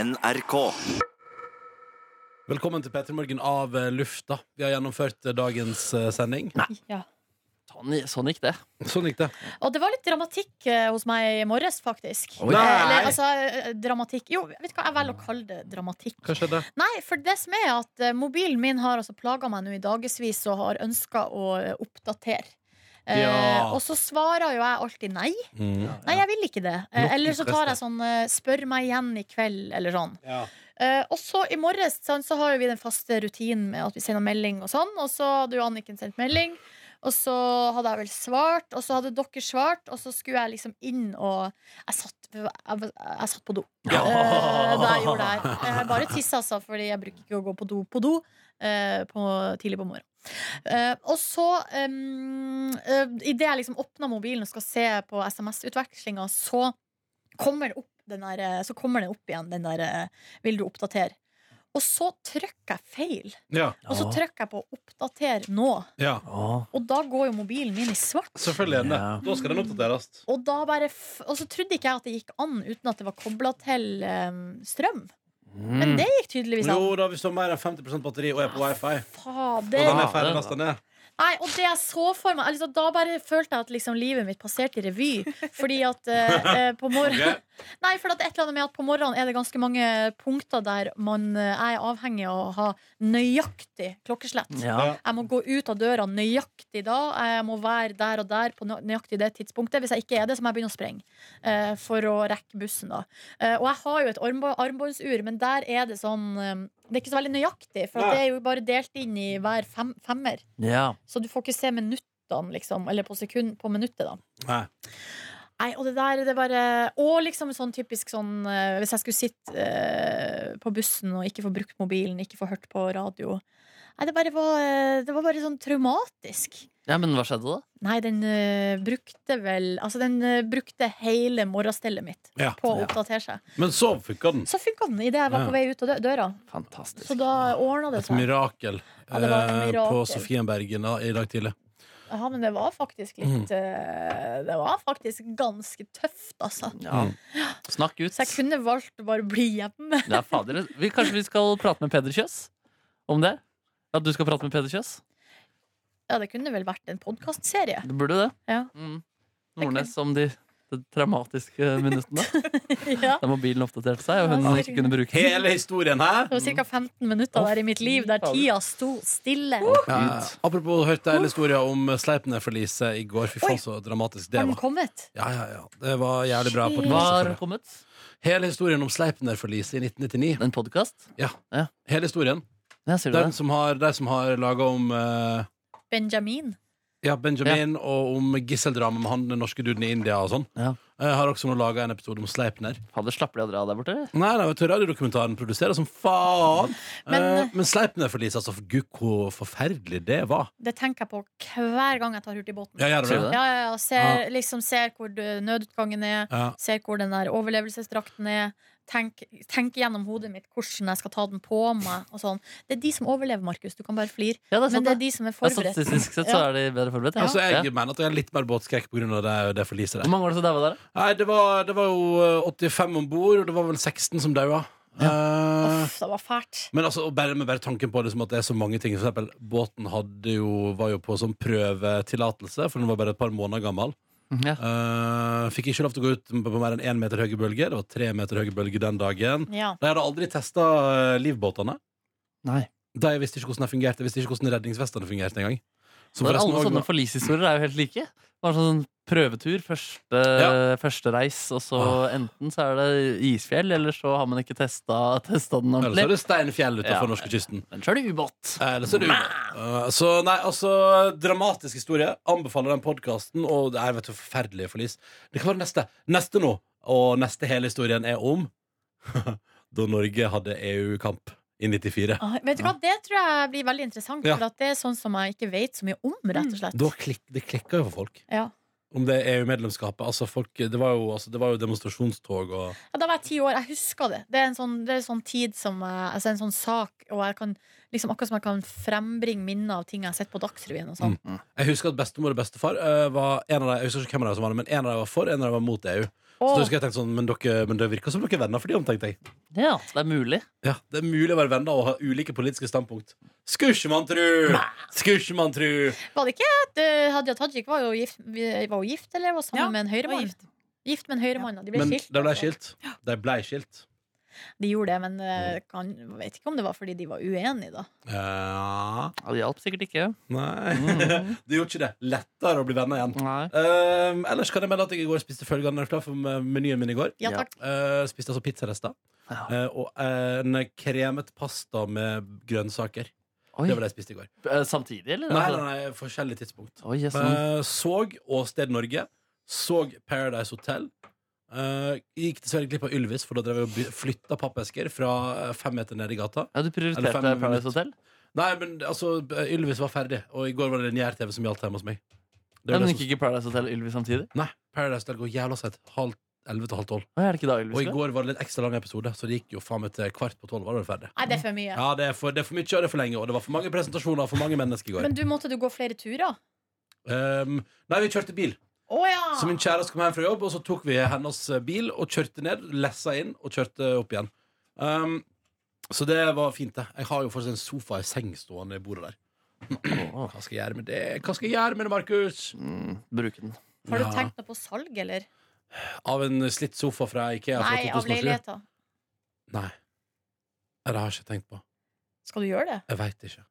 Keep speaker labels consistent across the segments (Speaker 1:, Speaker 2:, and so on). Speaker 1: NRK.
Speaker 2: Velkommen til P3 Morgen av eh, lufta. Vi har gjennomført eh, dagens eh, sending.
Speaker 3: Ja.
Speaker 4: Sånn, sånn gikk det.
Speaker 2: Sånn gikk det.
Speaker 3: Og det var litt dramatikk eh, hos meg i morges, faktisk.
Speaker 4: Oi.
Speaker 3: Eh,
Speaker 2: Nei.
Speaker 3: Eller, altså, eh, dramatikk Jo, vet du hva, jeg velger å kalle det dramatikk.
Speaker 2: Hva skjedde?
Speaker 3: Nei, for det som er at eh, mobilen min har altså plaga meg nå i dagevis og har ønska å eh, oppdatere. Eh,
Speaker 2: Ja.
Speaker 3: Og så svarer jo jeg alltid nei.
Speaker 2: Mm.
Speaker 3: Nei, jeg vil ikke det. Eh,
Speaker 2: Nok
Speaker 3: eller så
Speaker 2: de
Speaker 3: tar jeg
Speaker 2: fleste.
Speaker 3: sånn eh, spør meg igjen i kveld, eller sånn.
Speaker 2: Ja.
Speaker 3: Eh, og så i morges sant, så har jo vi den faste rutinen med at vi sender melding og sånn. Og så hadde jo Anniken sendt melding, og så hadde jeg vel svart, og så hadde dere svart, og så skulle jeg liksom inn og Jeg satt, jeg, jeg satt på do
Speaker 2: Ja.
Speaker 3: eh, da jeg gjorde det her. Jeg bare tisse, altså, fordi jeg bruker ikke å gå på do på do eh, på, tidlig på morgenen. Eh, og så, um, uh, idet jeg liksom åpna mobilen og skal se på SMS-utvekslinga, så kommer det opp den der, eh, Så kommer den opp igjen, den der eh, 'vil du oppdatere'? Og så trykker jeg feil.
Speaker 2: Ja.
Speaker 3: Og så
Speaker 4: Ja.
Speaker 3: trykker jeg på 'oppdater nå',
Speaker 2: ja.
Speaker 3: og da går jo mobilen min i svart.
Speaker 2: Selvfølgelig er den det.
Speaker 4: Ja.
Speaker 2: Da skal den oppdateres.
Speaker 3: Og, da bare f og så trodde ikke jeg at det gikk an uten at det var kobla til eh, strøm.
Speaker 4: mm.
Speaker 3: Men det gikk tydeligvis
Speaker 2: Jo
Speaker 3: an.
Speaker 2: da, hvis du har mer enn 50 batteri og er på wifi. Og den
Speaker 3: Fader.
Speaker 2: er ferdig neste ned.
Speaker 3: Nei, og det jeg så for meg altså, Da bare følte jeg at liksom, livet mitt passerte i revy. Fordi at eh, eh, på morgenen
Speaker 2: Ok.
Speaker 3: Nei, for at et eller annet med at på morgenen er det ganske mange punkter der man eh, er avhengig av å ha nøyaktig klokkeslett.
Speaker 4: Ja.
Speaker 3: Jeg må gå ut av døra nøyaktig da. Jeg må være der og der på nø- nøyaktig det tidspunktet. Hvis jeg ikke er det, så må jeg begynne å sprenge eh, for å rekke bussen. da Eh, Og jeg har jo et armbå- armbåndsur, men der er det sånn eh, Det er ikke så veldig nøyaktig, for at det er jo bare delt inn i hver fem, femmer.
Speaker 4: ja.
Speaker 3: Så du får ikke se minuttene, liksom. Eller på sekund på minuttet, da.
Speaker 2: Nei.
Speaker 3: Nei, og det der, det bare Og liksom sånn typisk sånn eh, Hvis jeg skulle sitte eh, på bussen og ikke få brukt mobilen, ikke få hørt på radio Nei, det bare var eh, Det var bare sånn traumatisk.
Speaker 4: ja, men hva skjedde da?
Speaker 3: Nei, den eh, brukte vel Altså, den eh, brukte hele morgenstellet mitt
Speaker 2: Ja.
Speaker 3: på å
Speaker 4: Ja.
Speaker 3: oppdatere seg.
Speaker 2: Men så funka den.
Speaker 3: Så funka den idet jeg var
Speaker 2: Ja.
Speaker 3: på vei ut av dø- døra.
Speaker 4: Fantastisk.
Speaker 3: Så da ordna det
Speaker 2: Et
Speaker 3: seg.
Speaker 2: mirakel,
Speaker 3: Ja, det var et
Speaker 2: eh,
Speaker 3: mirakel.
Speaker 2: på Sofienbergen da, i dag tidlig.
Speaker 3: Ja, men det var faktisk
Speaker 2: Mm.
Speaker 3: litt eh, Det var faktisk ganske tøft, altså.
Speaker 4: Ja.
Speaker 2: Mm.
Speaker 4: Snakk ut.
Speaker 3: Så jeg kunne valgt å bare bli hjemme.
Speaker 4: Ja, fader. Vi, kanskje vi skal prate med Peder Kjøs om det? At du skal prate med Peder Kjøs?
Speaker 3: Ja, det kunne vel vært en podkastserie.
Speaker 4: Du burde det.
Speaker 3: Ja.
Speaker 4: Mm. Nordnes om de, de traumatiske minuttene
Speaker 3: Ja.
Speaker 4: da mobilen oppdaterte seg og hun
Speaker 3: Ja,
Speaker 4: ikke kunne bruke den.
Speaker 2: Hele historien her!
Speaker 3: Det var ca. 15 minutter der i mitt liv der tida sto stille.
Speaker 2: Ja.
Speaker 4: Gud.
Speaker 2: Apropos hørt deilig historie om Sleipner-forliset i går. Fy faen, så dramatisk det
Speaker 3: Har den
Speaker 2: var.
Speaker 3: kommet?
Speaker 2: Ja, ja, ja. Det var jævlig bra. på den
Speaker 4: Hva
Speaker 2: måten,
Speaker 4: har
Speaker 2: selvfølgelig.
Speaker 4: kommet?
Speaker 2: Hele historien om Sleipner-forliset i 1999.
Speaker 4: En podkast?
Speaker 2: Ja.
Speaker 4: Ja.
Speaker 2: Hele historien.
Speaker 4: Ja, sier du
Speaker 2: De
Speaker 4: det?
Speaker 2: som har, de som har laga om eh,
Speaker 3: Benjamin.
Speaker 2: ja, Benjamin og om gisseldrama med han den norske duden i India og sånn.
Speaker 4: Ja.
Speaker 2: Jeg har også nå laga en episode om Sleipner.
Speaker 4: Fader, slapper de av dere av der borte? eller?
Speaker 2: Nei, nei, vet du, Radiodokumentaren produserer som faen! Men,
Speaker 3: Men-
Speaker 4: eh,
Speaker 2: men Sleipner-forliset, altså, gud, hvor forferdelig det var.
Speaker 3: Det tenker jeg på hver gang jeg tar Hurtigbåten.
Speaker 2: Ja, gjør det
Speaker 4: Sier du
Speaker 2: det?
Speaker 4: det?
Speaker 3: Ja, ja, ja. Ser, liksom ser hvor du- nødutgangen er,
Speaker 2: Ja.
Speaker 3: ser hvor den der overlevelsesdrakten er. Tenk, tenk gjennom hodet mitt hvordan jeg skal ta den på meg. Og sånn. Det er de som overlever, Markus. Du kan bare flire.
Speaker 4: Ja, det er sant,
Speaker 3: Men Altså, det
Speaker 4: det.
Speaker 3: er de som er
Speaker 4: Ja,
Speaker 3: forberedt.
Speaker 4: statistisk sett så
Speaker 3: Ja.
Speaker 4: er de bedre forberedt. ja.
Speaker 2: Altså, jeg
Speaker 4: Ja.
Speaker 2: mener at jeg har litt mer båtskrekk pga. det, det forliset der.
Speaker 4: Hvor mange var det som daua der? da?
Speaker 2: Nei, det var, det var jo eh, 85 om bord, og det var vel 16 som daua. Eh,
Speaker 3: Uff, det var fælt.
Speaker 2: men altså, og bare, med bare tanken på liksom, at det er så mange ting. For eksempel, båten hadde jo, var jo på sånn prøvetillatelse, for den var bare et par måneder gammel.
Speaker 4: Ja.
Speaker 2: Eh, fikk ikke lov til å gå ut på, på mer enn én meter høye bølger. Det var tre meter høye bølger den dagen.
Speaker 3: Ja.
Speaker 2: De hadde aldri testa livbåtene.
Speaker 4: Nei.
Speaker 2: De visste ikke hvordan de fungerte. De visste ikke hvordan redningsvestene fungerte engang. Som
Speaker 4: Men
Speaker 2: forresten
Speaker 4: alle
Speaker 2: også
Speaker 4: sånne
Speaker 2: var-
Speaker 4: forlishistorier er jo helt like. Bare sånn prøvetur, første,
Speaker 2: Ja.
Speaker 4: første reis, og så enten så er det isfjell, eller så har man ikke testa, testa den
Speaker 2: Eller så er
Speaker 4: ordentlig.
Speaker 2: det steinfjell
Speaker 4: Ja.
Speaker 2: utenfor norskekysten.
Speaker 4: Men så er det ubåt.
Speaker 2: Eller så er det ubåt. Eh, Så nei, altså Dramatisk historie. Anbefaler den podkasten. Og det er vet du, forferdelige forlis. Det kan være neste. Neste nå. Og neste hele historien er om da Norge hadde EU-kamp i 94.
Speaker 3: Ah, Vet du hva, Det tror jeg blir veldig interessant,
Speaker 2: Ja.
Speaker 3: for at det er sånn som jeg ikke vet så mye om. rett og slett
Speaker 2: Da klik, det klikka jo for folk.
Speaker 3: ja.
Speaker 2: Om det EU-medlemskapet. Altså, folk, det, var jo, altså, det var jo demonstrasjonstog og
Speaker 3: Ja, da var jeg ti år. Jeg husker det. Det er en sånn, det er en sånn tid som jeg, altså en sånn sak, og jeg kan liksom akkurat som jeg kan frembringe minner av ting jeg har sett på Dagsrevyen. og
Speaker 2: Mm.
Speaker 3: sånn
Speaker 2: Jeg husker at bestemor og bestefar eh, var en av de, jeg husker ikke hvem av de som var det, men en av de var for, en av de var mot EU. Så
Speaker 3: Åh,
Speaker 2: da husker jeg tenkte sånn, men, dere, men det virker som dere er venner for de om, tenkte jeg.
Speaker 4: Ja, så det er mulig.
Speaker 2: Ja, Det er mulig å være venner og ha ulike politiske standpunkt. Skulle ikke man tru! Skulle ikke man tru!
Speaker 3: Var det ikke at eh, Hadia Tajik var jo gift, var jo gift eller var sammen
Speaker 1: Ja,
Speaker 3: med en
Speaker 1: var
Speaker 3: høyremann?
Speaker 1: gift.
Speaker 3: Gift med en høyremann, og de ble
Speaker 2: Men
Speaker 3: skilt.
Speaker 2: de ble
Speaker 3: altså.
Speaker 2: skilt. De ble skilt.
Speaker 3: De gjorde det, men eh,
Speaker 2: Mm.
Speaker 3: kan, vet ikke om det var fordi de var uenige, da.
Speaker 2: Ja
Speaker 4: Ja, det hjalp sikkert ikke.
Speaker 2: Nei.
Speaker 4: Mhm.
Speaker 2: Mm. Det gjorde ikke det lettere å bli venner igjen.
Speaker 4: Nei.
Speaker 2: Ehm, ellers kan jeg melde at jeg i går spiste følgende. Er du klar for eh, menyen min i går?
Speaker 3: Ja
Speaker 4: Ja.
Speaker 3: takk.
Speaker 2: Eh, spiste altså pizzarester.
Speaker 4: Ja.
Speaker 2: eh, og en kremet pasta med grønnsaker.
Speaker 4: Oi.
Speaker 2: Det var det jeg spiste i går.
Speaker 4: Eh, Samtidig, eller?
Speaker 2: Nei, nei, nei forskjellige tidspunkt.
Speaker 4: Oi, jeg sånn.
Speaker 2: Eh, såg Åsted Norge. Såg Paradise Hotel. Eh, gikk dessverre glipp av Ylvis, for da drev jeg og by- flytta pappesker fra eh, fem meter nede i gata.
Speaker 4: Ja, du
Speaker 2: Eller
Speaker 4: prioriterte
Speaker 2: fem
Speaker 4: Paradise
Speaker 2: minutter.
Speaker 4: Hotel?
Speaker 2: Nei, men altså, Ylvis var ferdig, og i går var det lineær-TV som gjaldt hjemme hos meg. Det
Speaker 4: Ja,
Speaker 2: var
Speaker 4: men
Speaker 2: det som-
Speaker 4: gikk ikke Paradise Hotel og Ylvis samtidig?
Speaker 2: Nei, Paradise Hotel går jævla sent. Halv elleve til halv tolv.
Speaker 4: Å, er det ikke da
Speaker 2: Og
Speaker 4: Ylvis
Speaker 2: i
Speaker 4: går?
Speaker 2: går var det litt ekstra lang episode, så det gikk jo faen meg til kvart på tolv. Var det ferdig
Speaker 3: Nei, det er for mye.
Speaker 2: Ja, det er, for, det er for mye, og det er for lenge, og det var for mange presentasjoner og for mange mennesker i går.
Speaker 3: Men du måtte du gå flere turer?
Speaker 2: Ehm, nei, vi kjørte bil.
Speaker 3: Å ja!
Speaker 2: Så min kjæreste kom hjem fra jobb, og så tok vi hennes eh, bil og kjørte ned, lessa inn og kjørte opp igjen. Ehm, så det var fint, det. Jeg har jo fortsatt en sofa i seng stående i bordet der.
Speaker 4: Å,
Speaker 2: Hva skal jeg gjøre med det, Hva skal jeg gjøre med det, Markus?
Speaker 4: mm, bruke den.
Speaker 3: Har du
Speaker 2: Ja.
Speaker 3: tenkt noe på salg, eller?
Speaker 2: Av en slitt sofa fra Ikea fra
Speaker 3: Nei, av
Speaker 2: 2007?
Speaker 3: leiligheter.
Speaker 2: Nei. Nei, Det har jeg ikke tenkt på.
Speaker 3: Skal du gjøre det?
Speaker 2: Jeg veit ikke.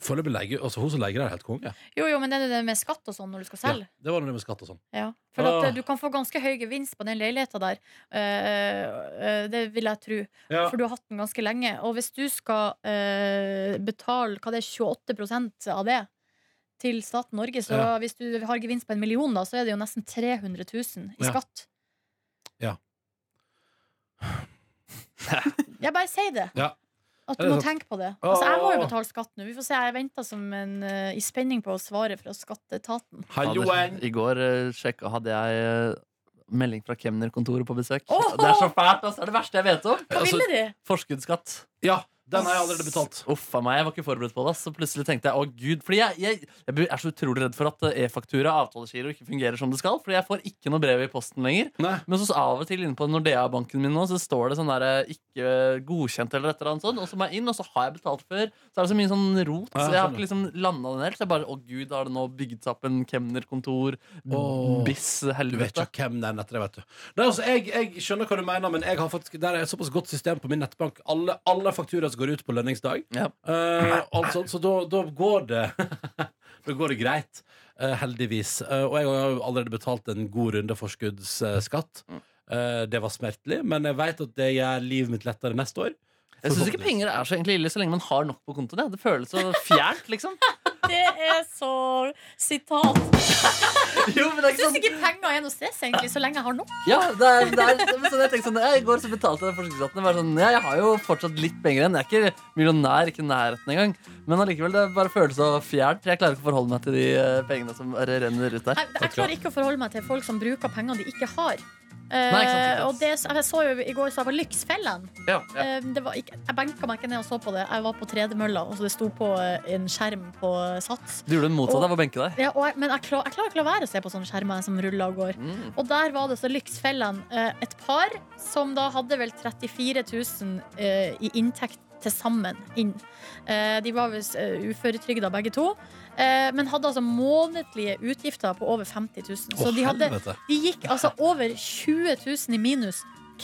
Speaker 2: Foreløpig leier altså, hun som leier, er helt konge.
Speaker 3: Jo, jo, men det er jo det med skatt og sånn når du skal
Speaker 2: Ja,
Speaker 3: selge.
Speaker 2: det var noe med skatt og sånn.
Speaker 3: Ja, for at
Speaker 2: Ah.
Speaker 3: eh, du kan få ganske høy gevinst på den leiligheten der. Eh, eh, det vil jeg tro.
Speaker 2: Ja.
Speaker 3: For du har hatt den ganske lenge. Og hvis du skal eh, betale hva det er, 28 av det til staten Norge, så
Speaker 2: Ja.
Speaker 3: hvis du har gevinst på en million, da, så er det jo nesten 300 000 i
Speaker 2: Ja.
Speaker 3: skatt.
Speaker 2: Ja.
Speaker 3: jeg bare sier det.
Speaker 2: Ja.
Speaker 3: At
Speaker 2: Er
Speaker 3: du
Speaker 2: det
Speaker 3: må
Speaker 2: sant?
Speaker 3: tenke på det. Altså, jeg må jo
Speaker 2: Åh.
Speaker 3: betale skatt nå. Vi får se. Jeg venter som en, eh, i spenning på svaret fra skatteetaten.
Speaker 2: Halloen!
Speaker 4: Hadde- I går eh, sjekka hadde jeg eh, melding fra kemnerkontoret på besøk.
Speaker 3: Åh!
Speaker 4: Det er så fælt, ass. Det er det verste jeg vet om.
Speaker 3: Hva
Speaker 2: Altså,
Speaker 3: ville de?
Speaker 4: Forskuddsskatt.
Speaker 2: Ja, den har jeg allerede betalt.
Speaker 4: Uff a meg, jeg var ikke forberedt på det. ass. Så plutselig tenkte jeg å gud. Fordi jeg, jeg, jeg er så utrolig redd for at eh, e-faktura, avtalegiro, ikke fungerer som det skal. Fordi jeg får ikke noe brev i posten lenger.
Speaker 2: Nei.
Speaker 4: Men så av og til inne på Nordea-banken min nå, så står det sånn der eh, ikke godkjent eller et eller annet sånt. Og så må jeg inn, og så har jeg betalt før. Så er det så mye sånn rot. Så jeg
Speaker 2: Ja, jeg
Speaker 4: har
Speaker 2: skjønner.
Speaker 4: ikke liksom landa den helt. Så jeg bare å gud, har det nå bygd seg opp en kemnerkontor?
Speaker 2: Åh.
Speaker 4: Biss
Speaker 2: Du vet
Speaker 4: helvete.
Speaker 2: ikke hvem den netter er, vet du. Nei, altså, jeg, jeg skjønner hva du mener, men jeg har faktisk, der er et såpass godt system på min nettbank. Alle, alle fakturaer som går ut på lønningsdag.
Speaker 4: Ja.
Speaker 2: Eh, alt sånt, så da, da går det Da går det greit, eh, heldigvis. Eh, og jeg har jo allerede betalt en god runde forskuddsskatt.
Speaker 4: Mm.
Speaker 2: Eh, det var smertelig, men jeg veit at det gjør livet mitt lettere neste år.
Speaker 4: Jeg syns ikke
Speaker 2: Forhåpentligvis.
Speaker 4: penger er så egentlig ille så lenge man har nok på kontoen. Ja. Det føles så fjernt, liksom.
Speaker 3: Det er så sitat.
Speaker 4: jo, men det er
Speaker 3: Jeg syns ikke penger er noe stress, egentlig, så lenge jeg har nok.
Speaker 4: Ja, det er, det er, det er sånn, jeg tenkte sånn ja, I går så betalte jeg forskningsskatten. Bare sånn, ja, jeg har jo fortsatt litt penger igjen. Jeg er ikke millionær, ikke i nærheten engang. Men allikevel, det bare føles så fjernt. Jeg klarer ikke å forholde meg til de eh, pengene som bare renner ut der.
Speaker 3: Jeg, jeg klarer ikke å forholde meg til folk som bruker penger de ikke har. Eh,
Speaker 4: Nei, ikke sant, ikke sant.
Speaker 3: og det, jeg så jo i går så jeg var Lyksfellen.
Speaker 4: Ja, ja.
Speaker 3: Eh, det var ikke, jeg benka meg ikke ned og så på det. Jeg var på tredemølla, og så det sto på eh, en skjerm på Sats.
Speaker 4: Du gjorde det motsatte av å benke deg.
Speaker 3: Ja, og jeg, men jeg, klar, jeg klarer ikke å la være å se på sånne skjermer som ruller og går.
Speaker 4: Mm.
Speaker 3: Og der var det så Lyksfellen eh, et par som da hadde vel 34 000 eh, i inntekt til sammen inn. Eh, de var visst eh, uføretrygda begge to, eh, men hadde altså månedlige utgifter på over 50 000. Så
Speaker 4: altså,
Speaker 2: Å,
Speaker 3: de, hadde,
Speaker 2: helvete.
Speaker 3: de gikk altså over 20 000 i minus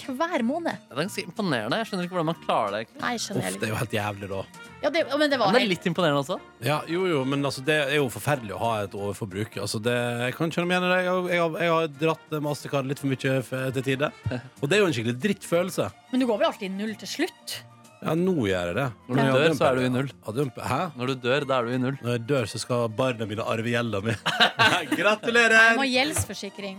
Speaker 3: hver måned.
Speaker 4: Det er ganske imponerende. Jeg skjønner ikke hvordan man klarer det. egentlig.
Speaker 3: Nei,
Speaker 2: Uff,
Speaker 3: skjønner jeg
Speaker 2: det er
Speaker 3: litt.
Speaker 2: jo helt jævlig, da.
Speaker 3: Ja, det, ja, men det var
Speaker 4: Men det er
Speaker 3: helt
Speaker 4: litt imponerende også.
Speaker 2: Ja, jo, jo, men altså, det er jo forferdelig å ha et overforbruk. Altså, det, jeg kan kjenne meg igjen i det. Jeg, har- jeg, har- jeg har dratt Mastercard litt for mye f- til tide. Og det er jo en skikkelig drittfølelse.
Speaker 3: Men du går vel alltid i null til slutt?
Speaker 2: Ja, nå gjør jeg det.
Speaker 4: Når du
Speaker 2: Jeg hadde
Speaker 4: dør,
Speaker 2: en
Speaker 4: så er du i
Speaker 2: periode-
Speaker 4: null.
Speaker 2: hadde en- Hæ?
Speaker 4: Når du dør, da er du i null.
Speaker 2: Når jeg dør, så skal barna mine arve gjelda mi.
Speaker 3: Du må
Speaker 2: Gratulerer!
Speaker 3: ha gjeldsforsikring.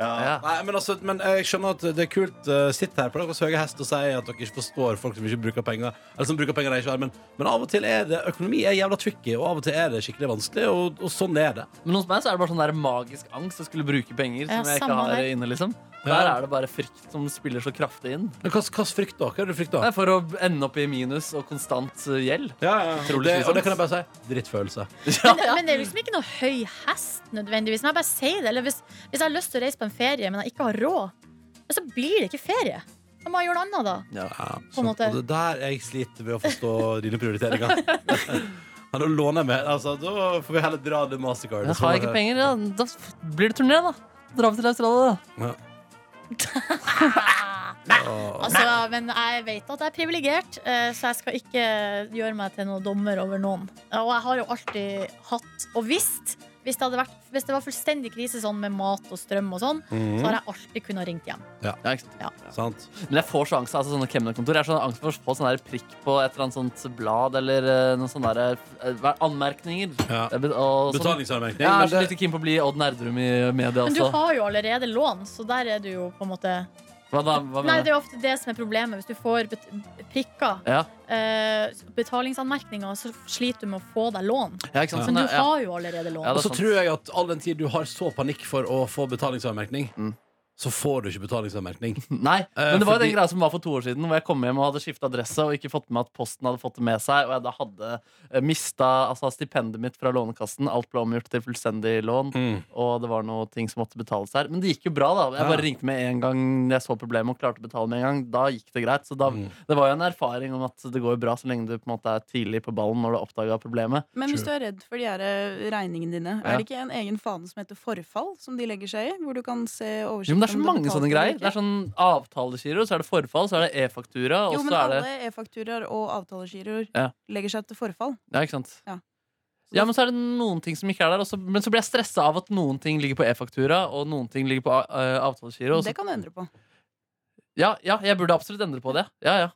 Speaker 4: Ja.
Speaker 2: Nei, men, altså, men jeg skjønner at det er kult. eh, Sitt her på deres høye hest og si at dere ikke forstår folk som ikke bruker penger. Eller som bruker penger de ikke har. Men, men av og til er det økonomi er jævla tricky, og av og til er det skikkelig vanskelig, og, og sånn er det.
Speaker 4: Men hos meg så er det bare sånn der magisk angst å skulle bruke penger
Speaker 3: Ja,
Speaker 4: som jeg ikke
Speaker 3: samme
Speaker 4: har
Speaker 3: her.
Speaker 4: inne. liksom Der
Speaker 2: Ja.
Speaker 4: er det bare frykt som spiller så kraftig inn.
Speaker 2: Men hva slags frykt da? Hva er det du frykter?
Speaker 4: Nei, For å ende opp i minus og konstant eh, gjeld.
Speaker 2: Ja, ja.
Speaker 4: Utrolig
Speaker 2: Det, og
Speaker 4: slitsomt.
Speaker 2: det kan jeg bare si. Drittfølelse.
Speaker 3: Men, men det er liksom ikke noe høy hest nødvendigvis. Men jeg bare sier det. Eller hvis, hvis jeg har lyst til å reise på en ferie, men jeg ikke har råd, så blir det ikke ferie. Da må jeg gjøre noe annet, da.
Speaker 2: Ja,
Speaker 3: På en
Speaker 2: sant.
Speaker 3: måte.
Speaker 2: Og det der jeg sliter med å forstå dine prioriteringer. Ja, da låner jeg mer. Altså, da får vi heller dra det mastercard.
Speaker 4: Men har jeg ikke penger, da, da f- blir det turné, da. Dra over til Australia, da.
Speaker 2: Ja.
Speaker 3: Altså, men jeg vet at jeg er privilegert, eh, så jeg skal ikke gjøre meg til noen dommer over noen. Og jeg har jo alltid hatt og visst hvis det, hadde vært, hvis det var fullstendig krise sånn med mat og strøm og sånn,
Speaker 2: Mhm.
Speaker 3: så har jeg alltid kunnet ringt hjem.
Speaker 4: Ja, ikke sant?
Speaker 2: Sant.
Speaker 4: Men jeg får så angst altså sånne kemnerkontor. Jeg har sånn angst for å få sånn der prikk på et eller annet sånt blad eller eh, noen sånne der, eh, hva- anmerkninger.
Speaker 2: Ja.
Speaker 4: Jeg bet- og sånn- Ja,
Speaker 2: Betalingsanmerkning.
Speaker 4: jeg
Speaker 2: men
Speaker 4: er så
Speaker 2: det-
Speaker 4: litt keen på å bli Odd Nerdrum i media altså.
Speaker 3: Men du
Speaker 4: også.
Speaker 3: har jo allerede lån, så der er du jo på en måte
Speaker 4: Hva da? Hva
Speaker 3: Nei,
Speaker 4: mener
Speaker 3: det
Speaker 4: du?
Speaker 3: er jo ofte det som er problemet. Hvis du får bet prikker,
Speaker 4: Ja,
Speaker 3: eh, betalingsanmerkninger, så sliter du med å få deg lån.
Speaker 4: ja, ikke sant? Sånn,
Speaker 3: Men du
Speaker 4: ja.
Speaker 3: har jo allerede lån.
Speaker 4: Ja, det er
Speaker 2: Og så
Speaker 4: sant.
Speaker 2: tror jeg at all den tid du har så panikk for å få betalingsanmerkning,
Speaker 4: Mm.
Speaker 2: så får du ikke betalingsanmerkning.
Speaker 4: Nei,
Speaker 2: Eh,
Speaker 4: men det var jo
Speaker 2: fordi-
Speaker 4: den greia som var for to år siden, hvor jeg kom hjem og hadde skifta adresse og ikke fått med at posten hadde fått det med seg, og jeg da hadde mista altså, stipendet mitt fra Lånekassen. Alt ble omgjort til fullstendig lån,
Speaker 2: Mm.
Speaker 4: og det var noe ting som måtte betales her. Men det gikk jo bra, da. Jeg
Speaker 2: Ja.
Speaker 4: bare ringte med en gang jeg så problemet og klarte å betale med en gang. Da gikk det greit. Så da,
Speaker 2: Mm.
Speaker 4: det var jo en erfaring om at det går jo bra så lenge du på en måte er tidlig på ballen når du oppdaga problemet.
Speaker 1: Men hvis du er redd for de her eh, regningene dine,
Speaker 4: Ja.
Speaker 1: er det ikke en egen fane som heter forfall, som de legger seg i? Hvor du kan se
Speaker 4: Jo, men
Speaker 1: oversikten
Speaker 4: det er så mange sånne greier. Det er sånn avtalegiro, så er det forfall, så er det e-faktura, og
Speaker 1: Jo, men
Speaker 4: så er det
Speaker 1: alle e-fakturaer og avtalegiroer
Speaker 4: Ja.
Speaker 1: legger seg til forfall.
Speaker 4: Ja, ikke sant?
Speaker 1: Ja.
Speaker 4: Ja, men så er det noen ting som ikke er der. Også, men så blir jeg stressa av at noen ting ligger på e-faktura, og noen ting ligger på uh, avtalegiro. og så-
Speaker 1: Det kan du endre på.
Speaker 4: Ja, ja, jeg burde absolutt endre på det. Ja, ja.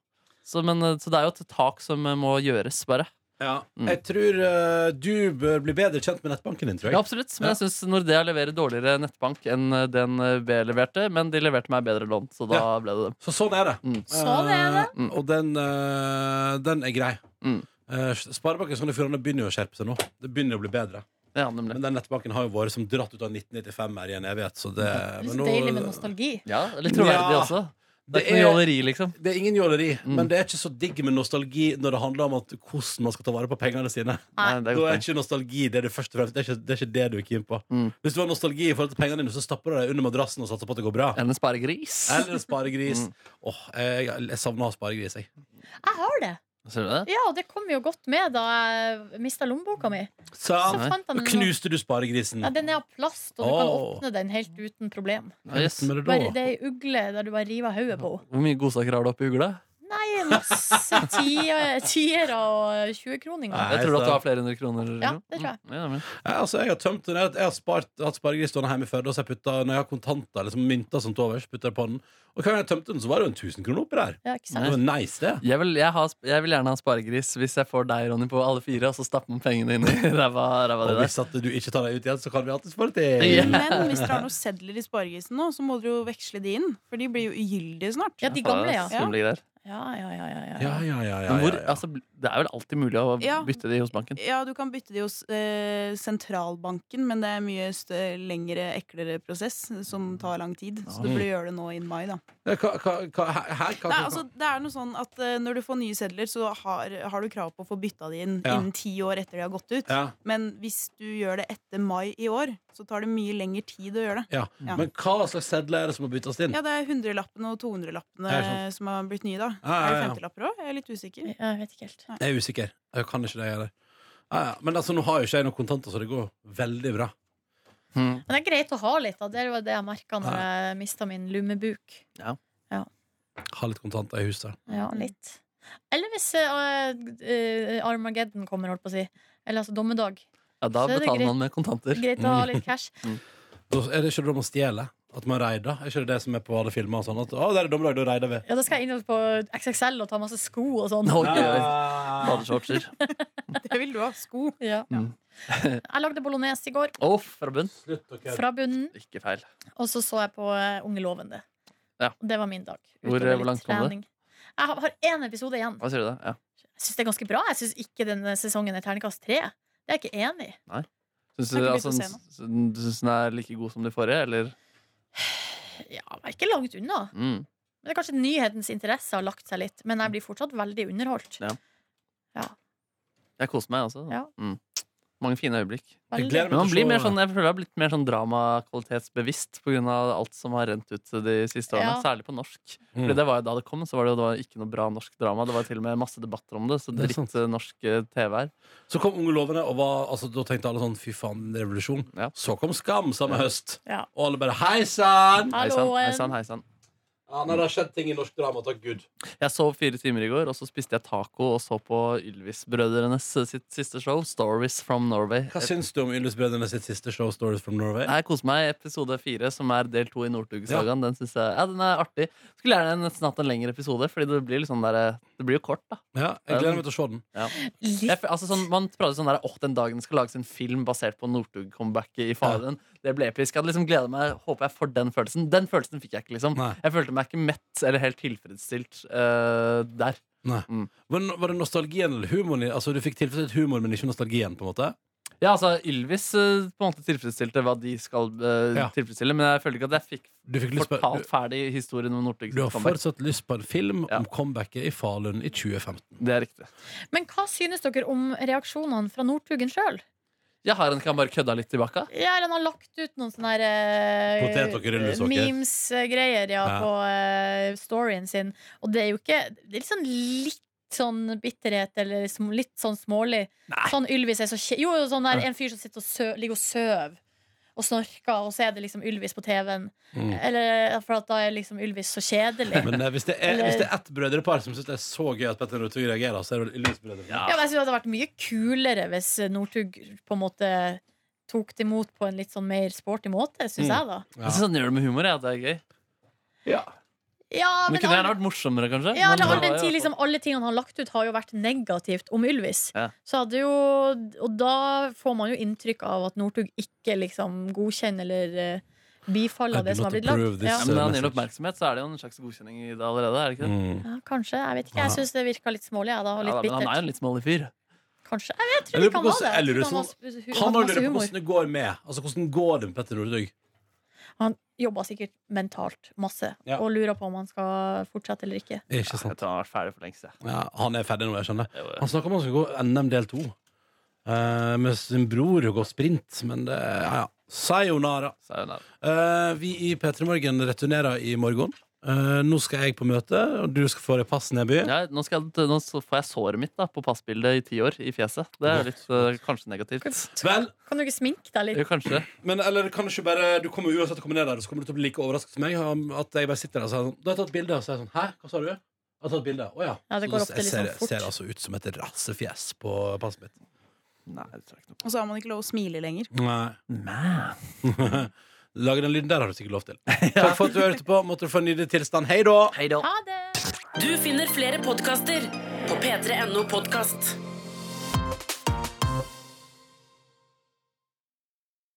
Speaker 4: Så, men, eh, så det er jo et tak som eh, må gjøres, bare. Mm.
Speaker 2: Jeg tror eh, du bør bli bedre kjent med nettbanken din, tror jeg.
Speaker 4: Ja, absolutt. Men
Speaker 2: Ja.
Speaker 4: jeg syns Nordea leverer dårligere nettbank enn eh, DNB leverte, men de leverte meg bedre lån, så da ble det det.
Speaker 2: Så sånn er det.
Speaker 4: Mm.
Speaker 3: Sånn er det.
Speaker 2: Eh, og den, eh, den er grei.
Speaker 4: Mm.
Speaker 2: Eh, Sparebanken Sogn og Fjordane begynner jo å skjerpe seg nå. Det begynner å bli bedre.
Speaker 4: Ja, nemlig.
Speaker 2: Men den nettbanken har jo vært som dratt ut av 1995 her i en evighet, så det
Speaker 3: Det er
Speaker 2: men
Speaker 3: så
Speaker 2: nå-
Speaker 3: deilig med nostalgi.
Speaker 4: Ja, det er litt troverdig
Speaker 2: Ja.
Speaker 4: også. Det
Speaker 2: Det
Speaker 4: er ikke noe
Speaker 2: er-
Speaker 4: jåleri, liksom.
Speaker 2: Det er ingen jåleri,
Speaker 4: Mm.
Speaker 2: men det er ikke så digg med nostalgi når det handler om at hvordan man skal ta vare på pengene sine.
Speaker 4: Nei,
Speaker 3: Nei.
Speaker 4: det er
Speaker 2: Da
Speaker 4: godt.
Speaker 2: er ikke nostalgi det du først og fremst Det er ikke det, er ikke det du er keen på.
Speaker 4: Mm.
Speaker 2: Hvis du har nostalgi i forhold til pengene dine, så stapper du deg under madrassen og satser på at det går bra.
Speaker 4: Eller en sparegris.
Speaker 2: Eller en sparegris.
Speaker 4: Mm.
Speaker 2: Åh, jeg, jeg savner å ha sparegris, jeg.
Speaker 3: Jeg har det.
Speaker 4: Ser du det?
Speaker 3: Ja, og det kom jo godt med da jeg mista lommeboka mi. Så
Speaker 2: Så
Speaker 4: Ah, Nei.
Speaker 3: fant jeg den
Speaker 2: knuste du sparegrisen.
Speaker 3: Ja, den er av plast, og du kan
Speaker 2: Åh.
Speaker 3: åpne den helt uten problem.
Speaker 4: Ja, yes.
Speaker 2: Med det da.
Speaker 3: Bare det er ei ugle der du bare river av hodet på henne.
Speaker 4: Hvor mye godsaker har du oppi ugla?
Speaker 3: Nei, masse tie- tiere og 20-kroninger.
Speaker 2: Nei.
Speaker 4: Jeg tror at du
Speaker 2: så-
Speaker 4: har flere hundre kroner. eller
Speaker 3: Ja,
Speaker 4: noe.
Speaker 3: det tror jeg.
Speaker 4: Mm, Ja, men.
Speaker 2: Ja, altså, jeg har tømt den. Jeg har- Jeg har spart, hatt sparegris stående hjemme i Førde, og så har jeg putta, når jeg har kontanter, liksom mynter sånt overs, putter jeg på den. Og hver gang jeg tømte den, så var det jo en 1000 kroner oppi der.
Speaker 3: Ja, ikke
Speaker 2: Det
Speaker 3: sant?
Speaker 2: var nice, det.
Speaker 4: jeg, vil, jeg, har, jeg vil gjerne ha en sparegris hvis jeg får deg, Ronny, på alle fire, og så stapper man pengene inn i ræva ræva di
Speaker 2: Og
Speaker 4: der.
Speaker 2: hvis at du ikke tar deg ut igjen, så kan vi alltid spare til.
Speaker 4: Ja.
Speaker 1: Men hvis dere har noen sedler i sparegrisen nå, så må dere jo veksle de inn. For de blir jo ugyldige snart.
Speaker 3: Ja, de gamle, ja.
Speaker 4: Skumle greier.
Speaker 3: Ja, ja, ja, ja, ja.
Speaker 2: Ja, ja, ja, ja,
Speaker 4: Men hvor,
Speaker 2: ja, ja.
Speaker 4: altså, det er vel alltid mulig å
Speaker 1: Ja.
Speaker 4: bytte de hos banken?
Speaker 1: Ja, du kan bytte de hos eh, sentralbanken, men det er mye stø- lengre, eklere prosess som tar lang tid. Så du burde gjøre det nå innen mai, da.
Speaker 2: Ja, hva- hva- hva- her- her- hva-
Speaker 1: Nei,
Speaker 2: hva-
Speaker 1: altså, det er noe sånn at eh, Når du får nye sedler, så har, har du krav på å få bytta de inn
Speaker 2: Ja.
Speaker 1: innen ti år etter de har gått ut.
Speaker 2: ja,
Speaker 1: Men hvis du gjør det etter mai i år, så tar det mye lengre tid å gjøre det.
Speaker 2: ja.
Speaker 1: Ja.
Speaker 2: Men hva slags sedler er det som må byttes inn?
Speaker 1: Ja, det er 100-lappene og
Speaker 2: Ja,
Speaker 1: 200-lappene
Speaker 2: sant.
Speaker 1: som har blitt nye, da.
Speaker 2: Ja, ja,
Speaker 1: Er det
Speaker 2: ja.
Speaker 1: 50-lapper òg? Jeg er litt usikker.
Speaker 3: Jeg vet ikke helt.
Speaker 2: Jeg er usikker. Jeg kan ikke det, jeg heller. Ja, ja. Men altså, nå har jo ikke jeg noen kontanter, så det går veldig bra.
Speaker 4: Hmm.
Speaker 3: Men det er greit å ha litt. Da. Det var det jeg merka når jeg mista min lommebok.
Speaker 2: Ha litt kontanter i huset.
Speaker 3: Ja, litt. Eller hvis eh, eh, Armageddon kommer, holdt på å si. Eller altså dommedag.
Speaker 4: Ja, da
Speaker 3: Så er det
Speaker 4: betaler
Speaker 3: greit.
Speaker 4: man med kontanter.
Speaker 3: Greit å ha litt cash.
Speaker 2: Da er det ikke det om å stjele? At man reider? Er ikke det det som er på alle filmer? og Sånn at, å, det er dommedag, da reider vi.
Speaker 3: Ja, da skal jeg inn på XXL og ta masse sko og sånn.
Speaker 4: Nå, Badeshortser.
Speaker 1: Det vil du ha. Sko.
Speaker 3: Ja.
Speaker 4: Mm.
Speaker 3: Jeg lagde bolognese i går,
Speaker 4: Å, fra bunn.
Speaker 2: Slutt å kødde.
Speaker 3: fra bunnen.
Speaker 4: Ikke feil.
Speaker 3: Og så så jeg på eh, Unge lovende.
Speaker 4: Ja.
Speaker 3: Og Det var min dag.
Speaker 4: Hvor- eh,
Speaker 3: Utover
Speaker 4: hvor
Speaker 3: litt
Speaker 4: langt kom det?
Speaker 3: trening. Jeg har- har én episode igjen.
Speaker 4: Hva sier du da? Ja.
Speaker 3: Jeg syns det er ganske bra. Jeg syns ikke denne sesongen er terningkast tre. Det er jeg ikke enig i.
Speaker 4: Syns du,
Speaker 1: Jeg har ikke
Speaker 4: altså,
Speaker 1: begynt å
Speaker 4: s- du syns den er like god som de forrige, eller?
Speaker 3: Ja, jeg er ikke langt unna.
Speaker 4: Mm.
Speaker 3: Men det er kanskje nyhetens interesse har lagt seg litt. Men jeg blir fortsatt veldig underholdt.
Speaker 4: Jeg koser meg, altså.
Speaker 3: Ja.
Speaker 4: Mm. mange fine øyeblikk.
Speaker 2: Jeg
Speaker 3: Veldig.
Speaker 2: gleder
Speaker 4: Men man
Speaker 2: meg
Speaker 4: blir
Speaker 2: til
Speaker 4: mer
Speaker 2: å se
Speaker 4: sånn, jeg føler jeg har blitt mer sånn dramakvalitetsbevisst pga. alt som har rent ut de siste årene.
Speaker 3: Ja.
Speaker 4: Særlig på norsk.
Speaker 2: Mm.
Speaker 4: Fordi det var jo da det kom, så var det jo det var ikke noe bra norsk drama. Det var til og med masse debatter om det, så
Speaker 2: Det er
Speaker 4: dritt
Speaker 2: sant.
Speaker 4: eh, norsk eh, TV her.
Speaker 2: Så kom Unge lovende, og var, altså, da tenkte alle sånn fy faen, revolusjon.
Speaker 4: Ja.
Speaker 2: Så kom Skam samme høst,
Speaker 3: Ja.
Speaker 2: og alle bare hei sann!
Speaker 4: Hei sann,
Speaker 3: Halloen.
Speaker 4: hei sann, hei sann.
Speaker 2: Ja, nei, det har skjedd ting i norsk drama, takk gud.
Speaker 4: Jeg sov fire timer i går, og så spiste jeg taco og så på Ylvis-brødrenes eh, sitt siste show, Stories from Norway.
Speaker 2: Hva syns du om Ylvis-brødrene sitt siste show, Stories from Norway?
Speaker 4: Jeg koser meg. i Episode fire, som er del to i Northugsagaen, den synes jeg ja, den er artig. Skulle gjerne nesten hatt en lengre episode, Fordi det blir litt sånn der, eh, det blir jo kort, da.
Speaker 2: Ja, jeg
Speaker 4: Um.
Speaker 2: gleder meg til å se den.
Speaker 4: Jeg,
Speaker 3: Litt.
Speaker 4: f- altså sånn, man prater sånn der Åh, den dagen det skal lages en film basert på Northug-comebacket i Falun. Det ble episk. Jeg hadde liksom gledet meg. Håper jeg får den følelsen. Den følelsen fikk jeg ikke, liksom.
Speaker 2: Nei.
Speaker 4: Jeg følte meg ikke mett eller helt tilfredsstilt eh, der.
Speaker 2: Nei.
Speaker 4: Mm.
Speaker 2: Var, det- var det nostalgien eller humoren? i- Altså, du fikk tilfredsstilt humor, men ikke nostalgien, på en måte?
Speaker 4: Ja, altså, Ylvis eh, på en måte tilfredsstilte hva de skal eh,
Speaker 2: Ja.
Speaker 4: tilfredsstille, men jeg følte ikke at jeg fikk
Speaker 2: Du fikk lyst på du,
Speaker 4: fortalt ferdig historien om Northug.
Speaker 2: du har fortsatt lyst på en film
Speaker 4: Ja.
Speaker 2: om comebacket i Falun i 2015.
Speaker 4: Det er riktig.
Speaker 3: Men hva synes dere om reaksjonene fra Northugen sjøl?
Speaker 4: Jeg har en kan bare kødda litt tilbake.
Speaker 3: Ja, eller han har lagt ut noen sånne her, eh,
Speaker 2: Potetåker, rullesokker.
Speaker 3: memes-greier ja,
Speaker 2: Ja.
Speaker 3: på eh, storyen sin. Og det er jo ikke Det er litt sånn litt sånn bitterhet, eller sm- litt sånn smålig. Sånn Ylvis er så kje... Jo, jo, sånn der, en fyr som sitter og sø, ligger og søv og snorker, og så er det liksom Ylvis på TV-en.
Speaker 2: Mm.
Speaker 3: Eller For at da er liksom Ylvis så kjedelig.
Speaker 2: Men eh, hvis det er,
Speaker 3: Eller-
Speaker 2: hvis det er ett brødrepar som syns det er så gøy at Petter Northug reagerer, så er det vel Ylvis-brødrene.
Speaker 4: Ja.
Speaker 3: Ja, men jeg synes det hadde vært mye kulere hvis Northug på en måte tok det imot på en litt sånn mer sporty måte, syns
Speaker 2: Mm.
Speaker 3: jeg, da.
Speaker 2: Ja.
Speaker 4: Jeg synes han gjør det med humor. Ja, det er gøy.
Speaker 3: Ja,
Speaker 4: Men
Speaker 3: men,
Speaker 4: kunne
Speaker 3: all,
Speaker 4: gjerne vært morsommere, kanskje.
Speaker 3: ja,
Speaker 4: Men
Speaker 3: eller all
Speaker 4: det
Speaker 3: den
Speaker 4: var jo-
Speaker 3: tid liksom, alle tingene han har lagt ut, har jo vært negativt om Ylvis.
Speaker 4: Ja.
Speaker 3: Så hadde jo, og da får man jo inntrykk av at Northug ikke liksom godkjenner eller eh, bifaller
Speaker 2: I do
Speaker 3: det som
Speaker 2: not
Speaker 3: har blitt
Speaker 2: approve
Speaker 3: lagt.
Speaker 2: this,
Speaker 3: Ja.
Speaker 4: Ja, men når han gir
Speaker 2: message.
Speaker 4: oppmerksomhet, så er det jo en slags godkjenning i det allerede. er det ikke det?
Speaker 2: Mm.
Speaker 3: Ja, kanskje. Jeg vet ikke.
Speaker 2: Ja.
Speaker 3: Jeg syns det virka litt smålig, jeg, da. Og
Speaker 4: Ja, da,
Speaker 3: litt
Speaker 4: men han er jo
Speaker 3: bittert.
Speaker 4: en litt smålig fyr.
Speaker 3: Kanskje. Jeg, vet, jeg
Speaker 2: Jeg lurer på
Speaker 3: tror ikke han
Speaker 2: hvordan-
Speaker 3: var det. Jeg tror
Speaker 2: jeg lurer
Speaker 3: han, var,
Speaker 2: Han
Speaker 3: han
Speaker 2: har
Speaker 3: hadde
Speaker 2: lurer
Speaker 3: masse
Speaker 2: på
Speaker 3: humor.
Speaker 2: hvordan det går med. Altså, hvordan går det med Petter Northug?
Speaker 3: Han jobba sikkert mentalt masse
Speaker 2: Ja.
Speaker 3: og lurer på om han skal fortsette eller ikke.
Speaker 2: Ikke
Speaker 4: Jeg tror
Speaker 2: sant?
Speaker 4: han har vært ferdig for lengst. jeg.
Speaker 2: Ja, han er ferdig nå, jeg skjønner.
Speaker 4: Det var-
Speaker 2: Han snakker om han skal gå NM del 2 eh, med sin bror og gå sprint, men det Ja, ja. Sayonara.
Speaker 4: Så er han der.
Speaker 2: Eh, vi i P3 Morgen returnerer i morgen. Eh, nå skal jeg på møte, og du skal få deg pass ned i byen.
Speaker 4: Ja, nå, skal jeg, nå så får jeg såret mitt da, på passbildet i ti år, i fjeset. Det er jo litt eh, kanskje negativt.
Speaker 2: Vel,
Speaker 3: Kan du ikke sminke deg litt?
Speaker 4: Jo, kanskje.
Speaker 2: men eller kan du ikke bare Du kommer uansett til å komme ned der, og så kommer du til å bli like overrasket som meg. om At jeg bare sitter der og sier sånn Du har jeg tatt bilde, og så er jeg sånn Hæ, hva sa du? Jeg har tatt bilde. Å ja.
Speaker 3: Ja, det
Speaker 2: Så
Speaker 3: går
Speaker 2: da-
Speaker 3: ofte
Speaker 2: jeg
Speaker 3: litt
Speaker 2: ser,
Speaker 3: sånn fort.
Speaker 2: ser altså ut som et rassefjes på passet mitt.
Speaker 4: Nei, det tror jeg ikke noe på.
Speaker 1: Og så har man ikke lov å smile lenger.
Speaker 2: Nei.
Speaker 4: Nei.
Speaker 2: Lage den lyden der har du sikkert lov til. Takk for at du hørte på. Måtte du få en nydelig tilstand. Hei da!
Speaker 4: Hei da.
Speaker 3: Ha det!
Speaker 5: Du finner flere podkaster på p3.no podkast.